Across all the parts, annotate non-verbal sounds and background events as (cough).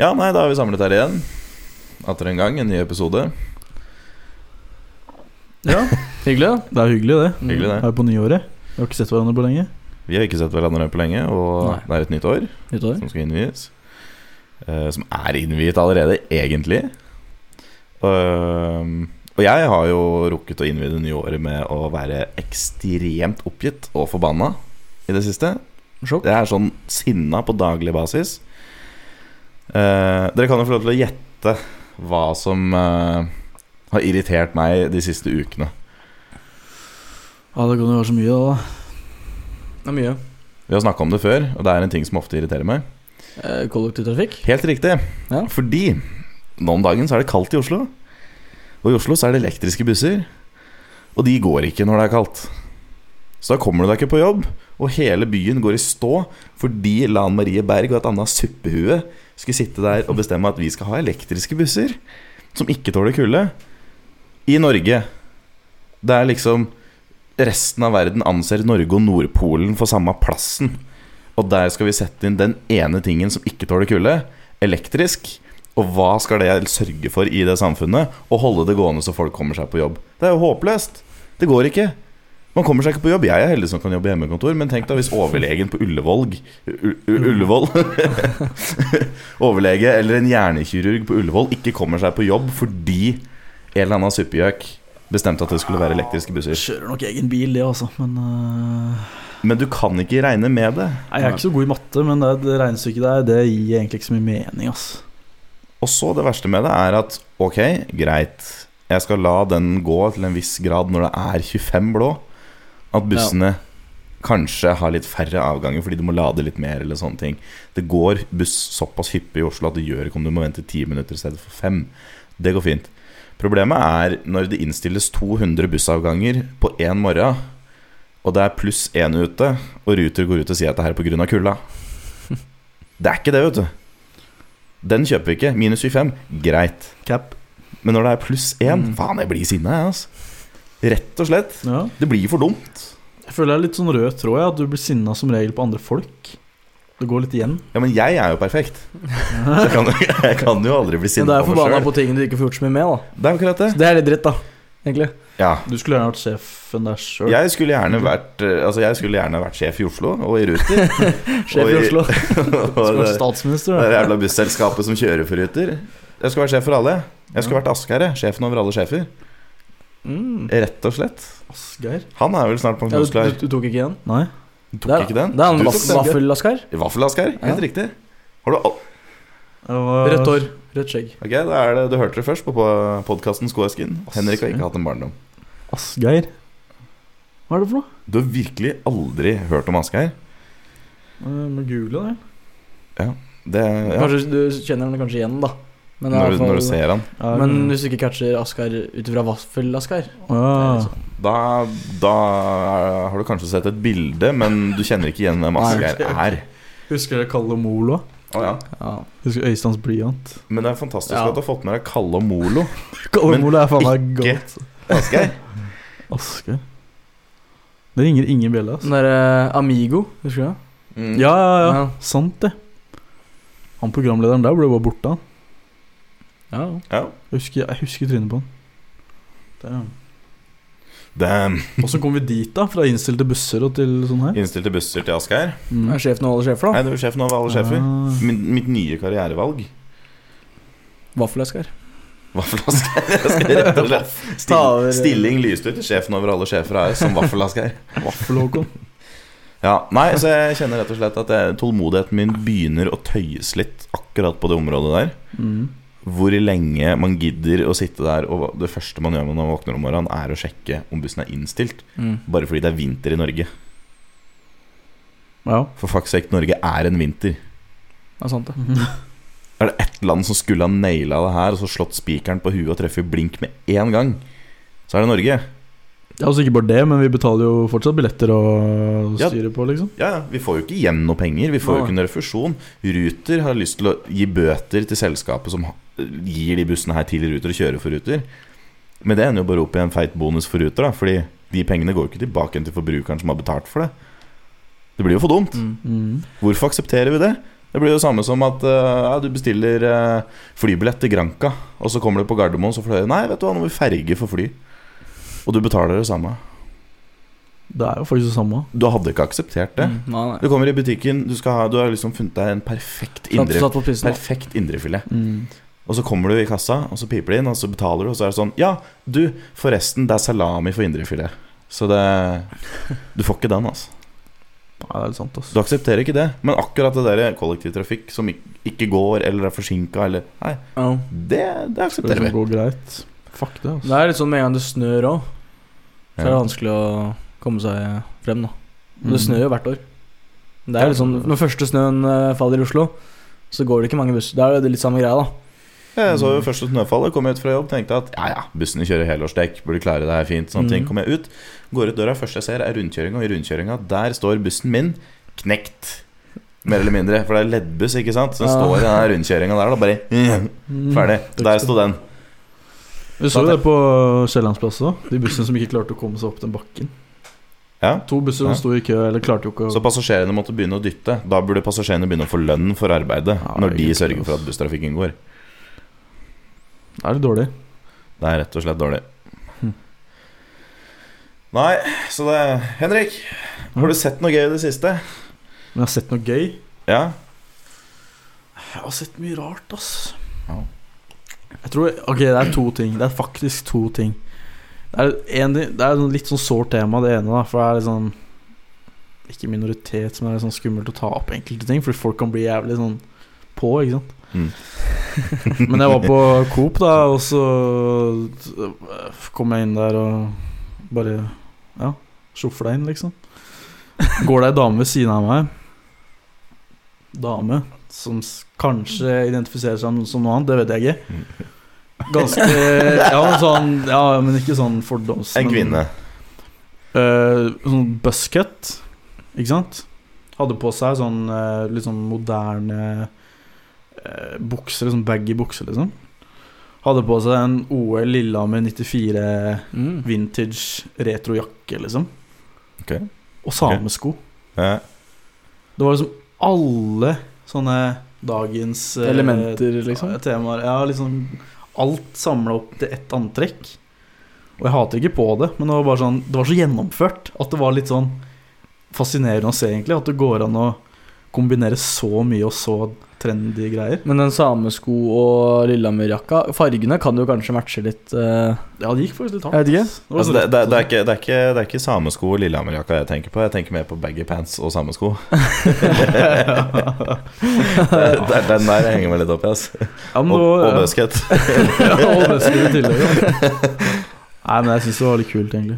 Ja, nei, da er vi samlet her igjen. Atter en gang, en ny episode. Ja, Hyggelig, da. det er hyggelig, det. Mm. Hyggelig, det. Det er på nyåret. Vi har ikke sett hverandre på lenge. Vi har ikke sett hverandre på lenge, og Nei. det er et nytt år Utover. som skal innvies. Eh, som er innviet allerede, egentlig. Ehm, og jeg har jo rukket å innvie det nye året med å være ekstremt oppgitt og forbanna i det siste. Sjokk. Jeg er sånn sinna på daglig basis. Eh, dere kan jo få lov til å gjette hva som eh, har irritert meg de siste ukene. Ja, det kan jo være så mye, da. Det er mye. Vi har snakka om det før, og det er en ting som ofte irriterer meg. Eh, Kollektivtrafikk. Helt riktig. Ja. Fordi nå om dagen så er det kaldt i Oslo. Og i Oslo så er det elektriske busser. Og de går ikke når det er kaldt. Så da kommer du deg ikke på jobb, og hele byen går i stå fordi Lan Marie Berg og et annet suppehue skulle sitte der og bestemme at vi skal ha elektriske busser som ikke tåler kulde. I Norge. Det er liksom Resten av verden anser Norge og Nordpolen for samme plassen. Og der skal vi sette inn den ene tingen som ikke tåler kulde elektrisk. Og hva skal det sørge for i det samfunnet? Å holde det gående så folk kommer seg på jobb. Det er jo håpløst. Det går ikke. Man kommer seg ikke på jobb. Jeg er heldig som kan jobbe i hjemmekontor, men tenk da hvis overlegen på Ullevål U- U- Ullevål (laughs) Overlege eller en hjernekirurg på Ullevål ikke kommer seg på jobb fordi en eller annen suppegjøk bestemte at det skulle være elektriske busser. Kjører nok egen bil, det, altså. Men øh, Men du kan ikke regne med det. Nei, Jeg er ikke så god i matte, men det, det regnestykket der Det gir egentlig ikke så mye mening, ass. Og så det verste med det er at ok, greit, jeg skal la den gå til en viss grad når det er 25 blå. At bussene kanskje har litt færre avganger fordi du må lade litt mer eller sånne ting. Det går buss såpass hyppig i Oslo at det gjør ikke om du må vente 10 minutter i stedet for 5. Det går fint. Problemet er når det innstilles 200 bussavganger på én morgen, og det er pluss én ute, og Ruter går ut og sier at det her er pga. (laughs) kulda. Det er ikke det, vet du. Den kjøper vi ikke. Minus 25, greit. Cap. Men når det er pluss 1 Mm. Faen, jeg blir sinna, jeg, altså. Rett og slett. Ja. Det blir for dumt. Jeg føler det er litt sånn rød tråd, jeg. At du blir sinna som regel på andre folk. Det går litt igjen. Ja, men jeg er jo perfekt. Så jeg kan, (laughs) jeg kan jo aldri bli Men det sinna er på forbanna meg sjøl. på ting du ikke får gjort så mye med, da. Det er akkurat det. Så det er litt dritt, da. Egentlig. Ja. Du skulle gjerne vært sjefen der sjøl. Jeg skulle gjerne vært eh, Altså, jeg skulle gjerne vært sjef i Oslo og i (laughs) Ruter. Sjef i Oi. (laughs) Oslo. og Skulle vært det, statsminister. det da. jævla busselskapet som kjører for Ruter. Jeg skulle vært sjef for alle. Jeg skulle vært Asgeir, jeg. sjefen over alle sjefer. Mm. Rett og slett. Asgeir? Han er vel snart Ja, du, pensjonsklar. du, du tok ikke den? Nei. Tok ikke den? Det er Du en tok vaff- den. vaffel-Asgeir. Vaffel-Asgeir, helt Ja. riktig. Har du al Det var- Rødt hår, rødt skjegg. Ok, da er det, Du hørte det først på podkasten Skåsken. Henrik har ikke hatt en barndom. Asgeir? Hva er det for noe? Du har virkelig aldri hørt om Asgeir. Eh, Må google det. Det, ja, Kanskje du kjenner den kanskje igjen, da. Men, det når, du- er i hvert når du fall- ser han. Ja, men men- hvis du ikke catcher Asgeir ut ifra vaffel-Asgeir Ja. det er Da, da er- har du kanskje sett et bilde, men du kjenner ikke igjen hvem Asgeir er. Husker dere Kalle Molo? Å ja. ja. Husker Øysteins blyant? Men det er fantastisk Ja. at du har fått med deg Kalle og Molo. Kalle Men Molo er faen meg ikke- godt. Asgeir. Aske. Det ringer ingen bjelle, altså. Den derre Amigo, husker du det? Mm. Ja, ja, ja, Ja. Sant, det. Han programlederen der ble bare borte, han. Ja. Ja. Jeg husker, jeg husker trynet på han. Damn. Damn. Åssen kom vi dit, da? Fra innstilte busser og til sånn her? Innstilte busser til Asgeir. Mm. Er sjefen og alle sjefer, da? Nei, du er sjefen over alle sjefer. Min, mitt nye karrierevalg. Vaffel-Asgeir. Vaffel-Asgeir. Jeg skal rett og slett (laughs) Ta Still, over- Stilling lyste ut til sjefen over alle sjefer AS som Vaffel-Asgeir. (laughs) Ah, Vaffel-Håkon. Ja, nei, så jeg kjenner rett og slett at jeg, tålmodigheten min begynner å tøyes litt akkurat på det området der. Mm. Hvor lenge man gidder å sitte der, og det første man gjør når man våkner om morgenen, er å sjekke om bussen er innstilt. Mm. Bare fordi det er vinter i Norge. Ja. For fuck's sake, Norge er en vinter. Det er sant, det. Er det ett land som skulle ha naila det her, og så slått spikeren på huet og treffet blink med én gang, så er det Norge. Ja, altså Ikke bare det, men vi betaler jo fortsatt billetter og Ja. styre på, liksom. Ja, ja, vi får jo ikke igjen noe penger. Vi får jo Nei. ikke noe refusjon. Ruter har lyst til å gi bøter til selskapet som ha- gir de bussene her til Ruter og kjører for Ruter. Men det ender jo bare opp i en feit bonus for Ruter, da, fordi de pengene går jo ikke tilbake igjen til forbrukeren som har betalt for det. Det blir jo for dumt. Mm. Mm. Hvorfor aksepterer vi det? Det blir jo det samme som at eh, ja, du bestiller eh, flybillett til Granca, og så kommer du på Gardermoen, så får du høre Nei, vet du hva, nå må vi ferge for fly. Og du betaler det samme. Det er jo faktisk det samme. Du hadde ikke akseptert det. Mm, nei, Du nei. kommer i butikken, du, skal ha, du har liksom funnet deg en perfekt Satt, indre satt på prisen. da. Perfekt indrefilet. Mm. Og så kommer du i kassa, og så piper det inn, og så betaler du, og så er det sånn Ja, du, forresten, det er salami for indrefilet. Så det Du får ikke den, altså. Nei, det er litt sant, altså. ass. Du aksepterer ikke det. Men akkurat det der kollektivtrafikk som ik- ikke går, eller er forsinka, eller Nei, Ja. det, det Det aksepterer som vi. går greit. Fuck det, altså. ass. Det er litt sånn med en gang det snør òg, så er det Ja. vanskelig å komme seg frem, da. Men Mm. Det snør jo hvert år. Det er litt sånn, Når første snøen eh, faller i Oslo, så går det ikke mange busser. Da er det litt samme greia, da. Jeg så Mm. jo første snøfallet, kom jeg ut fra jobb, tenkte at ja ja, bussene kjører helårsdekk, burde klare det her fint. Sånne ting. Mm. Mhm. Kom jeg ut, går ut døra, første jeg ser er rundkjøringa, og i rundkjøringa der står bussen min knekt. Mer eller mindre, for det er leddbuss, ikke sant. Så den Ja. står i den rundkjøringa der, da bare mm, ferdig. Der sto den. Vi så jo det på Kiellandsplassen òg. De bussene som ikke klarte å komme seg opp den bakken. Ja. To busser Ja. som sto i kø, eller klarte jo ikke å Så passasjerene måtte begynne å dytte. Da burde passasjerene begynne å få lønn for arbeidet, Ja, når de egentlig, sørger for ass. at busstrafikken går. Det er litt dårlig. Det er rett og slett dårlig. Hm. Nei, så det Henrik, har du sett noe gøy i det siste? Men jeg har sett noe gøy. Ja? Jeg har sett mye rart, ass. Ja. Jeg tror Ok, det er to ting. Det er faktisk to ting. Det er, en, det er sånn litt sånn sårt tema, det ene, da. For det er litt sånn Ikke minoritet, men det er litt sånn skummelt å ta opp enkelte ting. Fordi folk kan bli jævlig sånn på, ikke sant. Men jeg var på Coop, da, og så øh, kom jeg inn der og bare Ja, sjoffer deg inn, liksom. Går det ei dame ved siden av meg Dame som s- kanskje identifiserer seg som noe annet, det vet jeg Mm. ikke. Ganske Ja, men sånn, ja, men ikke sånn (laughs) fordoms... En men- kvinne. Eh, sånn buzzcut, ikke sant? Hadde på seg sånn eh, litt sånn moderne eh, bukser, sånn baggy bukser, liksom. Hadde på seg en OL Lillehammer 94 Mm. vintage retrojakke, liksom. Ok. Og samesko. Ja. Det var liksom alle sånne dagens eh, Elementer, liksom. ja, Temaer. Ja, liksom alt samla opp til ett antrekk. Og jeg hater ikke på det, men det var bare sånn Det var så gjennomført at det var litt sånn fascinerende å se, egentlig. At det går an å kombinere så mye og så trendy greier. Men den samesko og Lillehammer-jakka, fargene kan jo kanskje matche litt. eh, Ja, det gikk faktisk litt hardt. Jeg vet ikke. ass. Det var Altså, så det, rett, det, det, er altså. ikke, det, er ikke, det er ikke samesko og Lillehammer-jakka jeg tenker på. Jeg tenker mer på baggy pants og samesko. (laughs) (laughs) det, er- det er den der jeg henger meg litt opp i. ass. (laughs) ja, men Og, det var, og ja. bøsket. (laughs) ja, og bøsker i tillegg. ja. (laughs) Nei, men jeg syns det var litt kult, egentlig.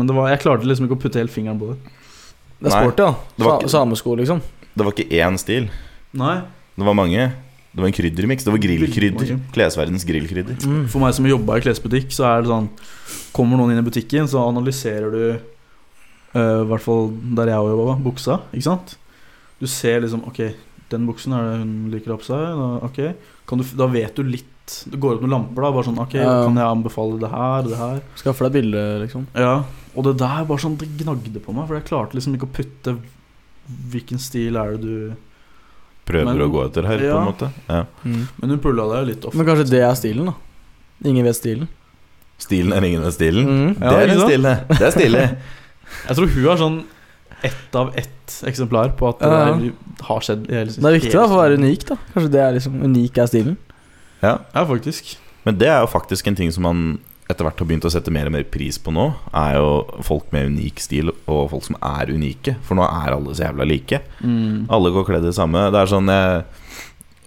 Men det var, jeg klarte liksom ikke å putte helt fingeren på det. Det er Nei, sporty, da. det var Sa- ikke- Samesko, liksom. Det var ikke én stil, Nei, det var mange. Det var en kryddermiks. Det var grillkrydder. Klesverdens grillkrydder. For meg som jobba i klesbutikk, så er det sånn Kommer noen inn i butikken, så analyserer du eh, I hvert fall der jeg jobba, buksa. Ikke sant? Du ser liksom Ok, den buksen er det hun liker å ha på seg. Da, ok, kan du, f- da vet du litt Det går opp noen lamper, da. Bare sånn Ok, Ja. kan jeg anbefale det her, det her? Skaffe deg bilde, liksom. Ja. Og det der bare sånn Det gnagde på meg, for jeg klarte liksom ikke å putte Hvilken stil er det du Prøver Men- å gå etter her, på Ja. en måte. Ja. Men hun pulla deg jo litt off. Men kanskje det er stilen, da. Ingen vet stilen. Stilen er ingen ved stilen. Mm. Det Ja, er ikke en sant? stille. Det er stille. Jeg tror hun er sånn ett av ett eksemplar på at det Ja, ja. der har skjedd. i hele- Det er viktig da, for å være unik, da. Kanskje det er liksom unik er stilen. Ja. Ja, faktisk. Men det er jo faktisk en ting som man etter hvert har begynt å sette mer og mer pris på nå, er jo folk med unik stil og folk som er unike. For nå er alle så jævla like. Mm. Alle går kledd i det samme. Det er sånn jeg,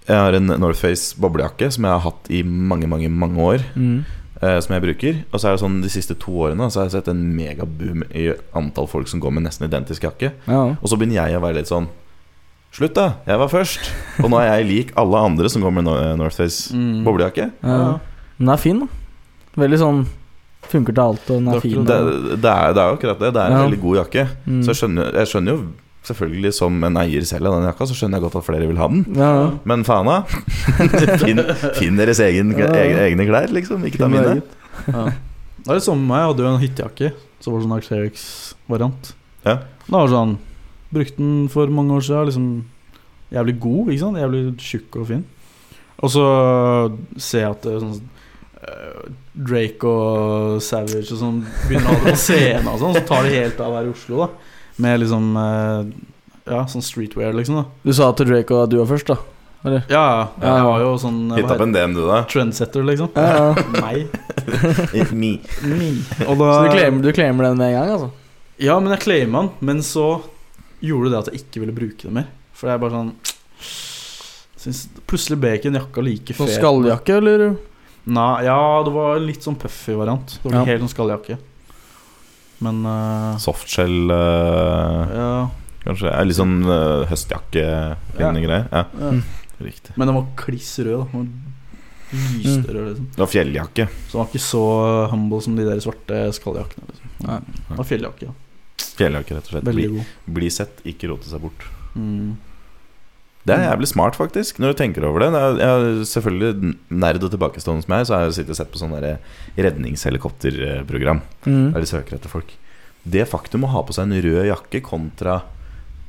jeg har en Northface boblejakke som jeg har hatt i mange, mange mange år. Eh, som jeg bruker. Og så er det sånn de siste to årene Så har jeg sett en megaboom i antall folk som går med nesten identisk jakke. Ja. Og så begynner jeg å være litt sånn Slutt, da! Jeg var først. Og nå er jeg lik alle andre som går med No- Northface Mm. boblejakke. Ja. Den er fin, da. Veldig sånn Funker til alt, og den er Det er Det, fin. det, da. er, det er jo akkurat det. Det er en Ja. veldig god jakke. Mm. Så jeg skjønner, jeg skjønner jo selvfølgelig som en eier selv av den jakka, så skjønner jeg godt at flere vil ha den. Ja, ja. Men faen da (laughs) finn, finn deres egen, Ja, ja. egne, egne klær, liksom. Ikke ta Finn mine. eget. Ja. Det er litt som meg. Jeg hadde jo en hyttejakke som var sånn Arcterix-variant. Ja. Den var sånn Brukte den for mange år siden. Liksom jævlig god, ikke sant? Jævlig tjukk og fin. Og så ser jeg at det er sånn eh, Drake og Savage og sånn begynner å ha det på scenen og sånn, så tar det helt av her i Oslo, da. Med liksom eh, Ja, sånn streetwear, liksom. da Du sa til Drake og at du var først, da. Ja, ja. Jeg var jo sånn eh, Hit hva opp en DM, du, da. (laughs) heter- trendsetter, liksom. Ja, ja. Meg. Me. Og da Så du claimer, du claimer den med en gang, altså? Ja, men jeg claima den. Men så gjorde det at jeg ikke ville bruke det mer. For jeg er bare sånn synes, Plutselig ble ikke en jakka like Sånn fet. skalljakke, eller? Nei, ja, det var litt sånn puffy variant. Det var ikke Ja. helt sånn skalljakke. Men eh, Softshell eh, ja, Kanskje er litt sånn uh, høstjakke-lignende greier. Ja, ja. Mm. riktig. Men den var kliss rød, da. Den var Lyste Mm. rød, liksom. Det var fjelljakke. Så den var ikke så eh, humble som de der svarte skalljakkene. Liksom. Nei. Det var fjelljakke. da. Fjelljakke, rett og slett. Bli, Veldig god. bli sett, ikke rote seg bort. Mm. Det er jævlig smart, faktisk, når du tenker over det. det er, jeg er selvfølgelig nerd og tilbakestående som jeg er, så har jeg sittet og sett på sånne der redningshelikopterprogram Mm. der de søker etter folk. Det faktum å ha på seg en rød jakke kontra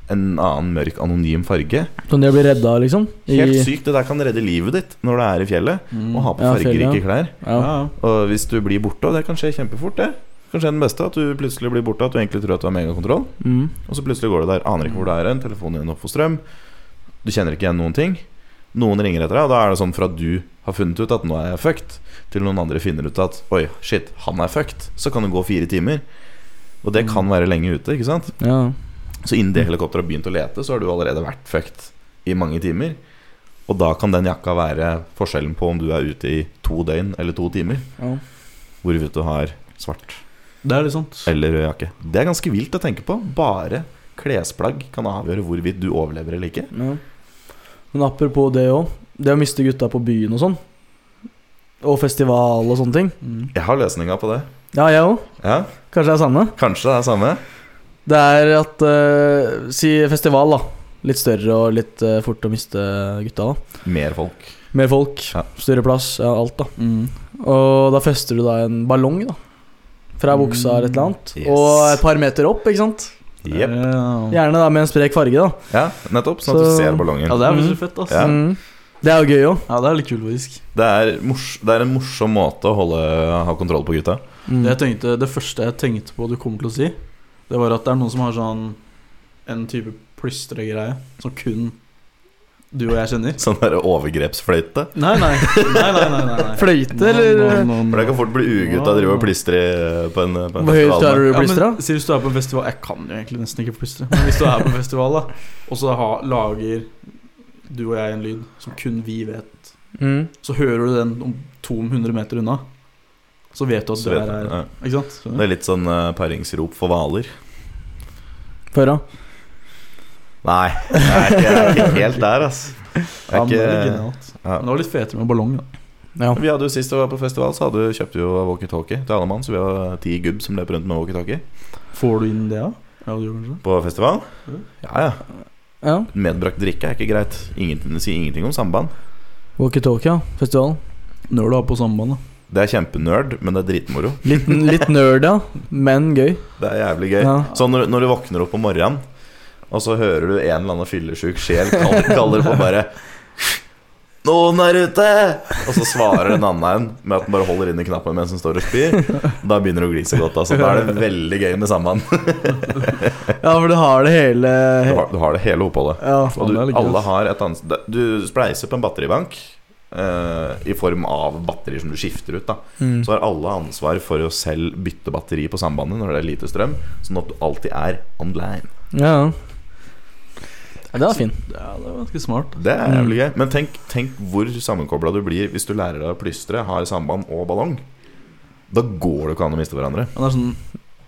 en annen mørk, anonym farge Sånn de blir redda, liksom? I, Helt sykt. Det der kan redde livet ditt når du er i fjellet, Mm. og ha på Ja, fargerike fjellet, klær. ja. ja. ja. Og hvis du blir borte, og det kan skje kjempefort, det. Kanskje den beste, at du plutselig blir borte, at du egentlig tror at du har megakontroll, Mm. og så plutselig går du der, aner ikke hvor det er hen, telefonen din opp for strøm, du kjenner ikke igjen noen ting. Noen ringer etter deg, og da er det sånn fra du har funnet ut at nå er jeg fucked, til noen andre finner ut at oi, shit, han er fucked, så kan det gå fire timer. Og det kan være lenge ute, ikke sant? ja. Så innen det helikopteret har begynt å lete, så har du allerede vært fucked i mange timer. Og da kan den jakka være forskjellen på om du er ute i to døgn eller to timer ja. hvorvidt du har svart Det er litt sant. eller rød jakke. Det er ganske vilt å tenke på. Bare klesplagg kan avgjøre hvorvidt du overlever eller ikke. Ja. Men apropos det òg. Det å miste gutta på byen og sånn. Og festival og sånne ting. Mm. Jeg har løsninga på det. Ja, jeg òg. Ja, Kanskje det er samme. Kanskje det er samme. Det er at eh, Si festival, da. Litt større og litt eh, fort å miste gutta. da Mer folk. Mer folk, Ja. større plass, ja, alt, da. Mm. Og da fester du da en ballong, da. Fra buksa eller et eller annet. Mm, Yes. Mm. Og et par meter opp, ikke sant. Jepp. Ja. Gjerne da med en sprek farge, da. Ja, nettopp. Sånn at du Så- ser ballongen. Ja, det er veldig Mhm. fett, ass. Ja. Ja. Mm. Det er jo gøy òg. det er litt kult, faktisk. Det er, mors det er en morsom måte å holde, ha kontroll på gutta. (laughs) Mm. Det, jeg tenkte, det første jeg tenkte på du kommer til å si, det var at det er noen som har sånn en type plystregreie som kun du og jeg kjenner. Sånn der overgrepsfløyte. Nei, nei. nei, nei, nei, nei, nei. Fløyte, Nå- eller? nå- nå- For det kan fort bli ugutt av å drive og plystre i- på en, på en Hvor høyt festival. klarer du å Ja, men, plystre? si hvis du er på en festival Jeg kan jo egentlig nesten ikke plystre. Men hvis du er på en festival, da, og så ha, lager du og jeg en lyd som kun vi vet, Mm. så hører du den om 200 meter unna, så vet du at Så du vet er du, her. ja. Ikke sant? Så- Det er litt sånn eh, paringsrop for hvaler. Før, da. (laughs) Nei, jeg er ikke, jeg er ikke helt der, ass. Ja, men Jeg det er er ikke, genialt. ja. Men det var litt fetere med ballong, da. Ja. Vi hadde jo Sist vi var på festival, så hadde, kjøpte vi jo walkietalkie til alle mann. Så vi var ti gubb som løp rundt med walkietalkie Får du inn det, da? Ja, du gjør kanskje det. på festival. Mm. Mhm. Ja, ja. ja. Medbrakt drikke er ikke greit. Ingenting, det sier ingenting om samband. Walkietalkie, ja. Festivalen. Når du har på samband, da. Det er kjempenerd, men det er dritmoro. Litt, litt nerd, ja. Men gøy. Det er jævlig gøy. Ja. Sånn når, når du våkner opp om morgenen, og så hører du en eller annen fyllesjuk sjel kalle- kaller på bare 'Noen er ute!' Og så svarer en annen en med at den bare holder inn i knappen mens den står og spyr. Da begynner det å glise godt. Altså. Da er det veldig gøy med samband. ja, for du har det hele Du har, du har det hele oppholdet. Ja. Og du, Faen, det er litt alle kult. har et annet det- Du spleiser på en batteribank eh, i form av batteri som du skifter ut. Da. Mm. Så har alle ansvar for å selv bytte batteri på sambandet når det er lite strøm, sånn at du alltid er online. ja. ja. Ja, det var fin. Ja, det er ganske smart. Det er jævlig gøy. Men tenk, tenk hvor sammenkobla du blir hvis du lærer deg å plystre, har samband og ballong. Da går det ikke an å miste hverandre. Han er sånn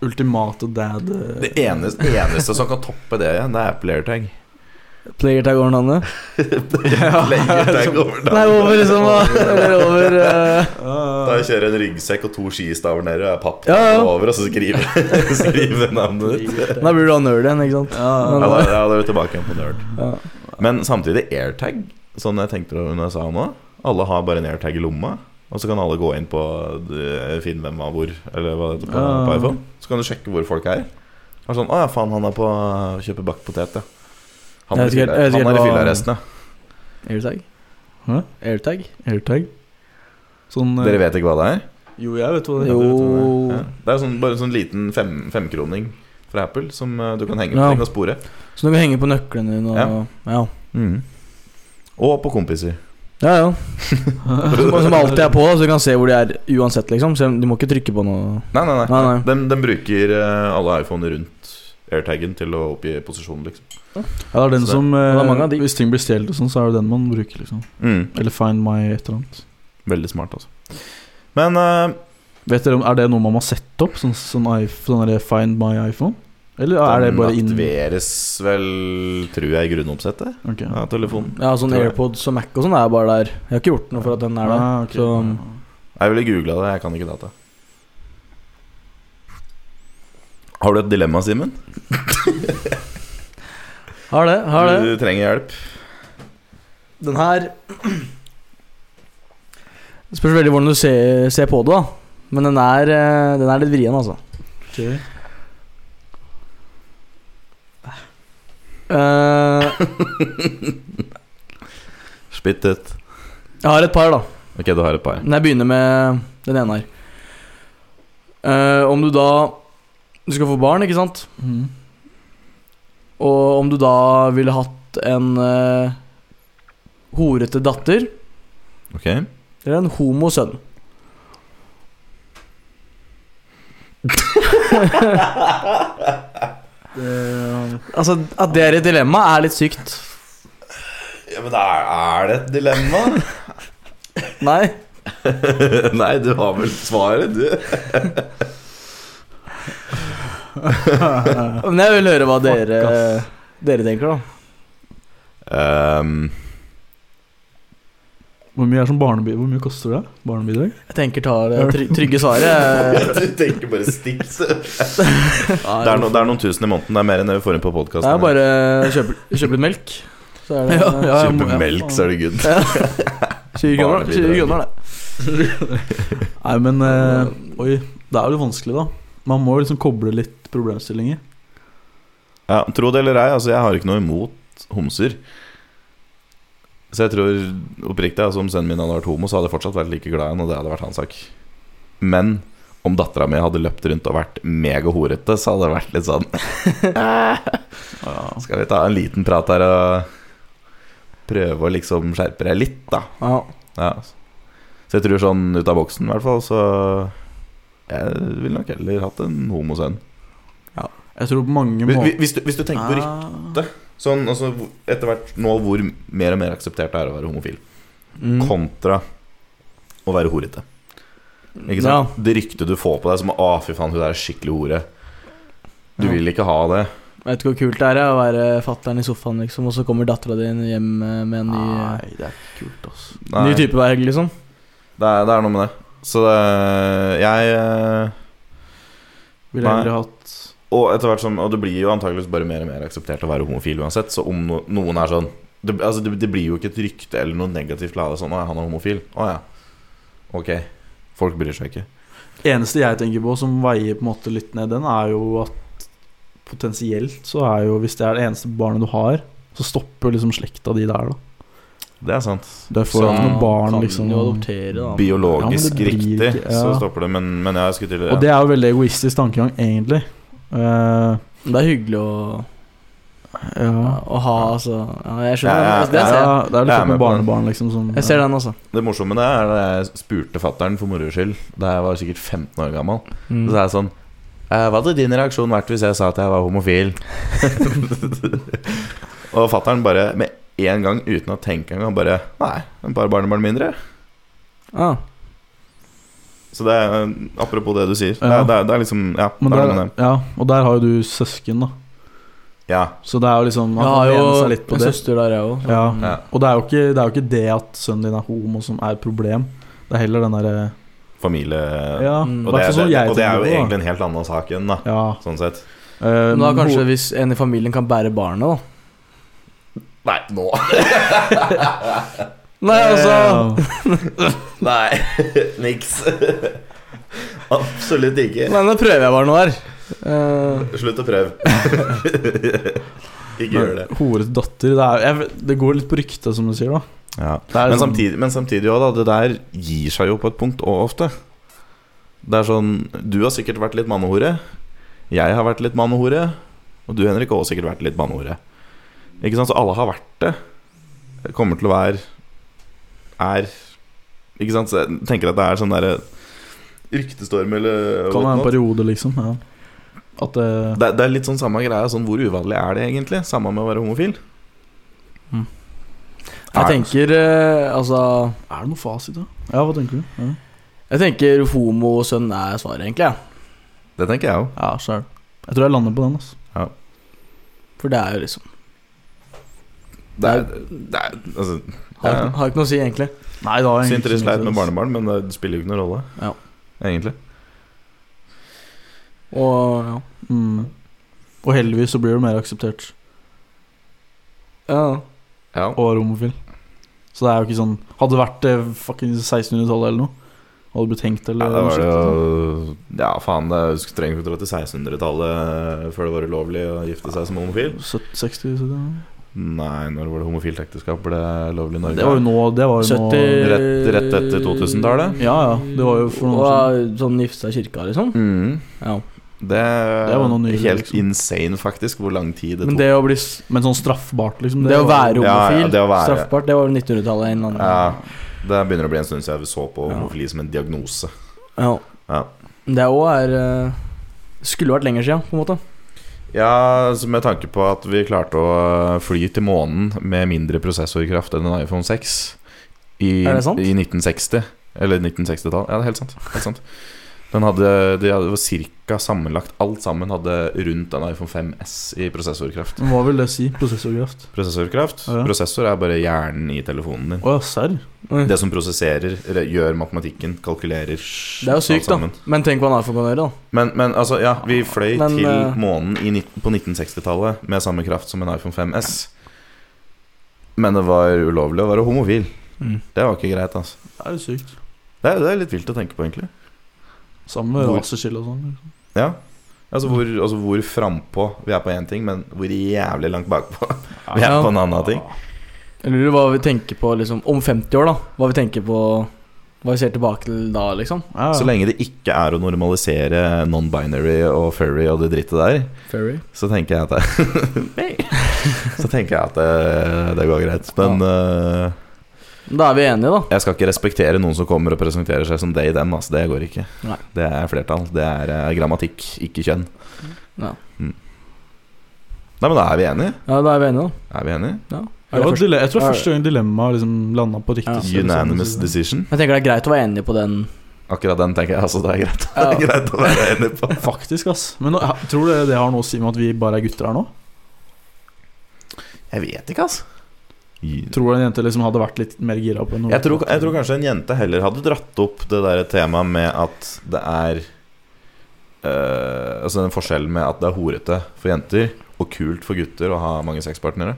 ultimate dad eh, Det eneste, eneste som kan toppe det igjen, det er player tag. (laughs) Player tag over navnet. Player tag (laughs) over Nei, over (laughs) liksom Eller over eh, Da kjører jeg en ryggsekk og to skistaver ned, og jeg papper Ja, ja. over, og så skriver (laughs) skriver navnet ditt. Da blir du da nerd igjen, ikke sant? Ja, Ja, da, ja, da er du tilbake igjen på nerd. Ja. Men samtidig airtag, sånn jeg tenkte det når jeg sa det nå. Alle har bare en airtag i lomma, og så kan alle gå inn på eh, Finn hvem var hvor, eller hva det heter på, Ja. på iPhone. Så kan du sjekke hvor folk er. Og sånn, Å ja, faen, han er på å kjøpe bakt potet, ja. Han Jeg er i vet ikke- fylla- jeg vet ikke han er i hva- fyllearresten, ja. Airtag? Hæ? Airtag? Airtag. Sånn eh, Dere vet ikke hva det er? Jo, jeg vet hva det er. Jo. (laughs) (laughs) Oh. Ja. Det er sånn, bare en sånn liten fem, femkroning fra Apple som eh, du kan henge på Ja. ting og spore. Så du kan henge på nøklene dine og Ja. Ja, Mm. Og på kompiser. ja. (laughs) ja. Som, som alltid er på, da, så du kan se hvor de er uansett, liksom. Selv om du må ikke trykke på noe. Nei, nei, nei. Nei, nei. De, de bruker eh, alle iPhoner rundt airtagen til å oppgi posisjon, liksom. Ja, det er den Så det- som det er eh, mange av de. Hvis ting blir stjålet og sånn, så er det den man bruker, liksom. Eller Find My et eller annet. Mm. Veldig smart, altså. Men eh, Vet dere om Er det noe man må sette opp? Sånn, sånn, iPh- sånn der Find My iPhone? Eller er det den bare inn... aktiveres vel, tror jeg, i grunnoppsettet Ok. av telefonen. Ja, sånn Tror jeg. AirPods og Mac og sånn er bare der. Jeg har ikke gjort noe for at den er der. Ah, ok. Så- Jeg ville googla det, jeg kan ikke data. Har du et dilemma, Simen? Har det, har det. Du trenger hjelp. Den her (clears throat) Det spørs veldig hvordan du ser, ser på det, da. Men den er, eh, den er litt vrien, altså. Ok. Eh, Spytt ut. jeg har et par, da. Ok, du har et par. Men jeg begynner med den ene her. Eh, om du da Du skal få barn, ikke sant? Mm. Og om du da ville hatt en eh, horete datter Ok eller en homo sønn. Altså, at det er et dilemma, er litt sykt. Ja, Men er, er det et dilemma? (laughs) Nei? Nei, du har vel svaret, du. Men jeg vil høre hva dere, ass. dere tenker, da. Um, Hvor mye er som barnebi- Hvor mye koster det? Barnebidrag? Jeg tenker tar det try trygge (laughs) svaret. (laughs) du tenker bare stikk. Det Det er, no, det er noen tusen i måneden. Det er mer enn det vi får inn på podkasten. Det er bare å kjøpe, kjøpe litt melk. Så er det (laughs) jeg må- Kjøpe (laughs) ja, melk, faen. så er det good. 20 kroner, 20 kroner det. Nei, men eh, Oi, det er jo litt vanskelig, da. Man må jo liksom koble litt problemstillinger. Ja, tro det eller ei, altså jeg har ikke noe imot homser. Så jeg tror oppriktig altså, om sønnen min hadde vært homo, så hadde jeg fortsatt vært like glad i han, og det hadde vært hans sak. Men om dattera mi hadde løpt rundt og vært megahorete, så hadde det vært litt sånn Skal vi ta en liten prat her og prøve å liksom skjerpe deg litt, da? Ja. Ja. Så jeg tror sånn ut av boksen, i hvert fall, så Jeg ville nok heller hatt en homosønn. Jeg tror på mange Hvis, måter hvis, du- hvis du tenker Ah. på rykte Sånn, altså, etter hvert nå hvor mer og mer akseptert det er å være homofil, Mm. kontra å være horete. Ikke sant? Det ryktet du får på deg som 'Å, fy faen, hun der er skikkelig hore'. Du Ja. vil ikke ha det. Ja. Vet du hvor kult det er ja, å være fatter'n i sofaen, liksom, og så kommer dattera di hjem eh, med en ny, eh, Nei, det er ikke kult, altså. Nei, ny det, type hver helg, liksom. er, det er noe med det. Så det Jeg eh, Ville Nei. heller hatt Og etter hvert som Og det blir jo antakeligvis bare mer og mer akseptert å være homofil uansett, så om no, noen er sånn det, altså, det, det blir jo ikke et rykte eller noe negativt la det sånn 'Å, ja, han er homofil'. Å ja. Ok. Folk bryr seg ikke. Eneste jeg tenker på som veier på en måte litt ned den, er jo at potensielt så er jo Hvis det er det eneste barnet du har, så stopper liksom slekta di der, da. Det er sant. Det får Sånn ikke noe barn, kan liksom. jo adoptere, da. biologisk Ja, men det blir riktig, ikke- ja. så stopper det. Men, men jeg skulle til Og det er jo veldig egoistisk tankegang, egentlig. Eh, Det er hyggelig å, ja. å ha, altså. Ja, jeg skjønner Ja, ja, den. Altså, det. ser jeg. Ja, det er Jeg er liksom med på barnebarn, liksom. Som, Jeg ser den, altså. Det morsomme det er da jeg spurte fattern for moro skyld da jeg var sikkert 15 år gammel. Mm. Så er jeg sånn «Eh, Hva hadde din reaksjon vært hvis jeg sa at jeg var homofil? (laughs) og fattern bare med en gang, uten å tenke engang, bare Nei, et par barnebarn mindre. Ah. Så det er eh, apropos det du sier. Det, Ja. er, det, er, det er liksom Ja. Men det er der, noe med det. ja, og der har jo du søsken, da. ja. Så det er jo liksom Jeg Han har kan jo lene seg litt på en det. søster der, jeg òg. Ja. Ja. Og det er, jo ikke, det er jo ikke det at sønnen din er homo som er et problem. Det er heller den derre Familie Ja, Mm. og, det, hvertfall det, sånn jeg og det er jo tenker på, egentlig en helt annen sak igjen, da. da. Ja. Sånn sett. Eh, Men da men kanskje ho- hvis en i familien kan bære barnet, da. Nei, nå (laughs) Nei, altså Ja. Nei, (laughs) niks. (laughs) Absolutt ikke. Nei, nå prøver jeg bare noe her. Eh, Slutt å prøve. (laughs) Ikke gjør (laughs) det. Horete datter. Det, er, jeg, det går litt på ryktet, som du sier. da Ja. Det Men er sånn- samtidig, men samtidig også, da, det der gir seg jo på et punkt òg ofte. Det er sånn Du har sikkert vært litt mannehore. Jeg har vært litt mannehore. Og du, Henrik, har også sikkert vært litt mannehore. Ikke sant? Så alle har vært det. Kommer til å være Er Ikke sant? Så jeg tenker at det er sånn derre ryktestorm eller Kan være en whatnot. periode, liksom. Ja. At eh, det det, det er litt sånn samme greia. Sånn, hvor uvanlig er det egentlig? Samme med å være homofil. Jeg tenker eh, altså Er det noe fasit, da? Ja, hva tenker du? Ja, Jeg tenker homosønn er svaret, egentlig. Ja. Det tenker jeg òg. ja sjøl. Jeg tror jeg lander på den. Altså. For det er jo liksom Det er, det er altså, Har, Ja. har ikke noe å si, egentlig. Nei, da har jeg egentlig Sinteri ikke så mye sleit med sens. barnebarn, men eh, det spiller jo ikke noen rolle. Ja. Egentlig. Og ja. Mm. Og heldigvis så blir det mer akseptert ja. Ja. å være homofil. Så det er jo ikke sånn Hadde det vært eh, fucking 1600-tallet eller noe, hadde det blitt hengt Ja, eller det noe var shit, det liksom. jo Ja, faen, det er trenger ikke dra til 1600-tallet før det var ulovlig å gifte seg som homofil. 70, 60, 70, Nei, når var det homofilt ekteskap ble lovlig i Norge? Det var jo nå det var jo nå- 70 Rett- rett etter 2000-tallet? Ja, ja, det var jo for noen år Og, eh, Sånn gifte seg i kirka, liksom. Mhm. Ja. Det Det var noe er nylig, helt liksom. siden. insane, faktisk, hvor lang tid det Men tok. det å bli s- Men sånn straffbart, liksom. Det å være Ja, ja, homofil, det å være- straffbart, det var vel 1900-tallet en eller annen Ja, det begynner å bli en stund siden jeg så på Ja. homofili som en diagnose. Ja. Ja. Det òg er eh, Skulle vært lenger siden, på en måte. Ja, altså med tanke på at vi klarte å eh, fly til månen med mindre prosessorkraft enn en iPhone 6 i, Er det sant? i 1960. Eller 1960-tall. Ja, det er helt sant. Helt sant. Den hadde, de hadde det var cirka sammenlagt Alt sammen hadde rundt en iPhone 5S i prosessorkraft. Hva vil det si? Prosessorkraft? Prosessorkraft Ja. Prosessor er bare hjernen i telefonen din. Å ja, serr? Mm. Det som prosesserer, re- gjør matematikken, kalkulerer Det Det er jo sykt, da. Men tenk hva Nafo kan gjøre, da. Men, men altså, ja, vi fløy Men, til eh, månen i, nitt- på 1960-tallet med samme kraft som en iPhone 5S. Men det var ulovlig å være homofil. Mm. Det var ikke greit, altså. Det er jo sykt. Det er, det er litt vilt å tenke på, egentlig. Sammen med Hvor- raseskille og sånn. Liksom. Ja. Altså hvor, altså hvor frampå vi er på én ting, men hvor jævlig langt bakpå (laughs) vi er Ja. på en annen ting. Jeg lurer hva vi tenker på liksom, om 50 år, da. Hva vi tenker på Hva vi ser tilbake til da, liksom. Ja, Så ja. lenge det ikke er å normalisere non-binary og furry og det drittet der, Ferry. så tenker jeg at det (laughs) Så tenker jeg at det, det går greit. Men eh, Da er vi enige, da. Jeg skal ikke respektere noen som kommer og presenterer seg som they, them. Altså, det går ikke. Nei. Det er flertall. Det er eh, grammatikk, ikke kjønn. Ja. Mm. Nei, men da er vi enige. Ja, da er vi enige, da. Er vi enige? Ja. Det var Er det dile- jeg tror det er er det- første gang dilemmaet liksom landa på riktig Ja. side, sånn Unanimous å si det. decision. jeg tenker det er greit å være enig på den. Akkurat den tenker jeg altså det er greit, (laughs) Ja. det er greit å være enig på. Faktisk, ass. Men nå, tror du det har noe å si med at vi bare er gutter her nå? Jeg vet ikke, altså. Jeg Tror du en jente liksom hadde vært litt mer gira på noe? tror, jeg tror kanskje en jente heller hadde dratt opp det der temaet med at det er eh, Altså den forskjellen med at det er horete for jenter og kult for gutter å ha mange sexpartnere.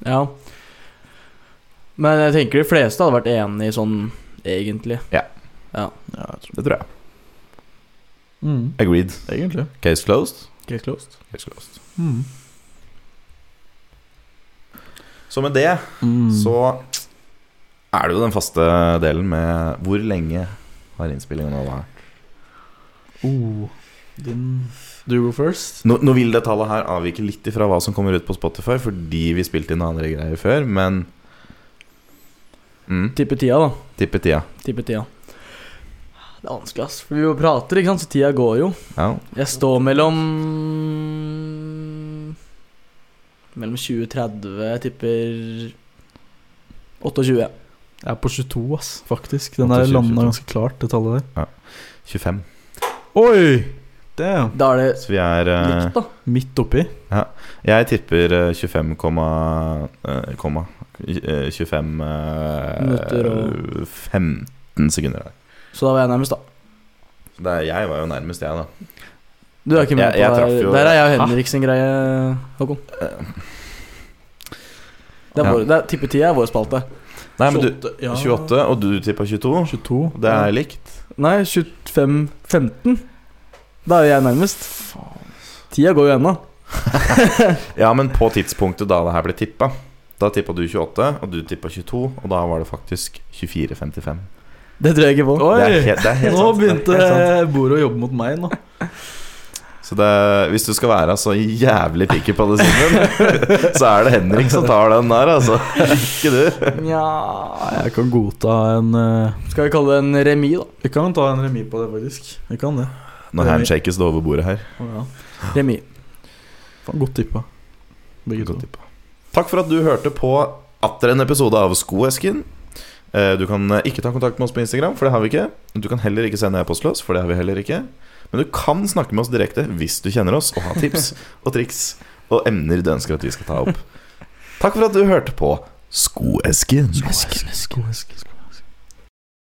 Ja. Men jeg tenker de fleste hadde vært enig sånn, egentlig. Ja, jeg tror. Det tror jeg. Mm, Agreed. egentlig. Case closed. Greit closed. Case closed. Mm. Så med det Mm. så er det jo den faste delen med hvor lenge har innspillingen nå vært. oh, Din Do you go first? Nå, nå vil det tallet her avvike litt ifra hva som kommer ut på Spotify, fordi vi spilte inn andre greier før, men mm, Tipper tida, da. Tipper tida. Tipper tida. Det er vanskelig, ass. For vi jo prater, ikke sant, så tida går jo. Ja. Jeg står mellom Mellom 20 og 30, jeg tipper 28. Jeg er på 22, ass, faktisk. Den 28, der 22. landa ganske klart, det tallet der. 25. Oi! Damn. Da er det Så vi er eh, likt, da. Midt oppi. Jeg tipper eh, 25, komma, eh, komma eh, 25 eh, Minutter og- 15 sekunder der. Så da var jeg nærmest, da. Så det er, jeg var jo nærmest, jeg, da. Du er ikke med Jeg- jeg på det. traff her. jo- Eh. Der er jeg og Henrik sin greie, Håkon. Det er Ja. vår, det er, tippetida er vår spalte. Nei, men du 28, ja. 28, og du tippa 22. 22. Det er likt. Nei, 25-15. Da er jeg nærmest. Faen. Tida går jo ennå. Ja, men på tidspunktet da det her ble tippa, da tippa du 28, og du tippa 22, og da var det faktisk 24,55. Det tror jeg ikke på. Det Oi! er helt, det er helt Nå sant. Det er helt sant. begynte bordet å jobbe mot meg nå. Så det, hvis du skal være så jævlig picky på det, Simen, (laughs) så er det Henrik som tar den der, altså. Ikke du. Nja Jeg kan godta en eh, Skal vi kalle det en remis, da? Vi kan ta en remis på det, faktisk. Vi kan det. Nå handshakes det over bordet her. Å, ja. Remis. Faen, godt tippa. Begge to. Godt tippa. Takk for at du hørte på atter en episode av Skoesken. Eh, Du kan eh, ikke ta kontakt med oss på Instagram, for det har vi ikke. Du kan heller ikke sende e-post til oss, for det har vi heller ikke. Men du kan snakke med oss direkte hvis du kjenner oss og har tips og triks og emner du ønsker at vi skal ta opp. Takk for at du hørte på Skoesken. Skoesken.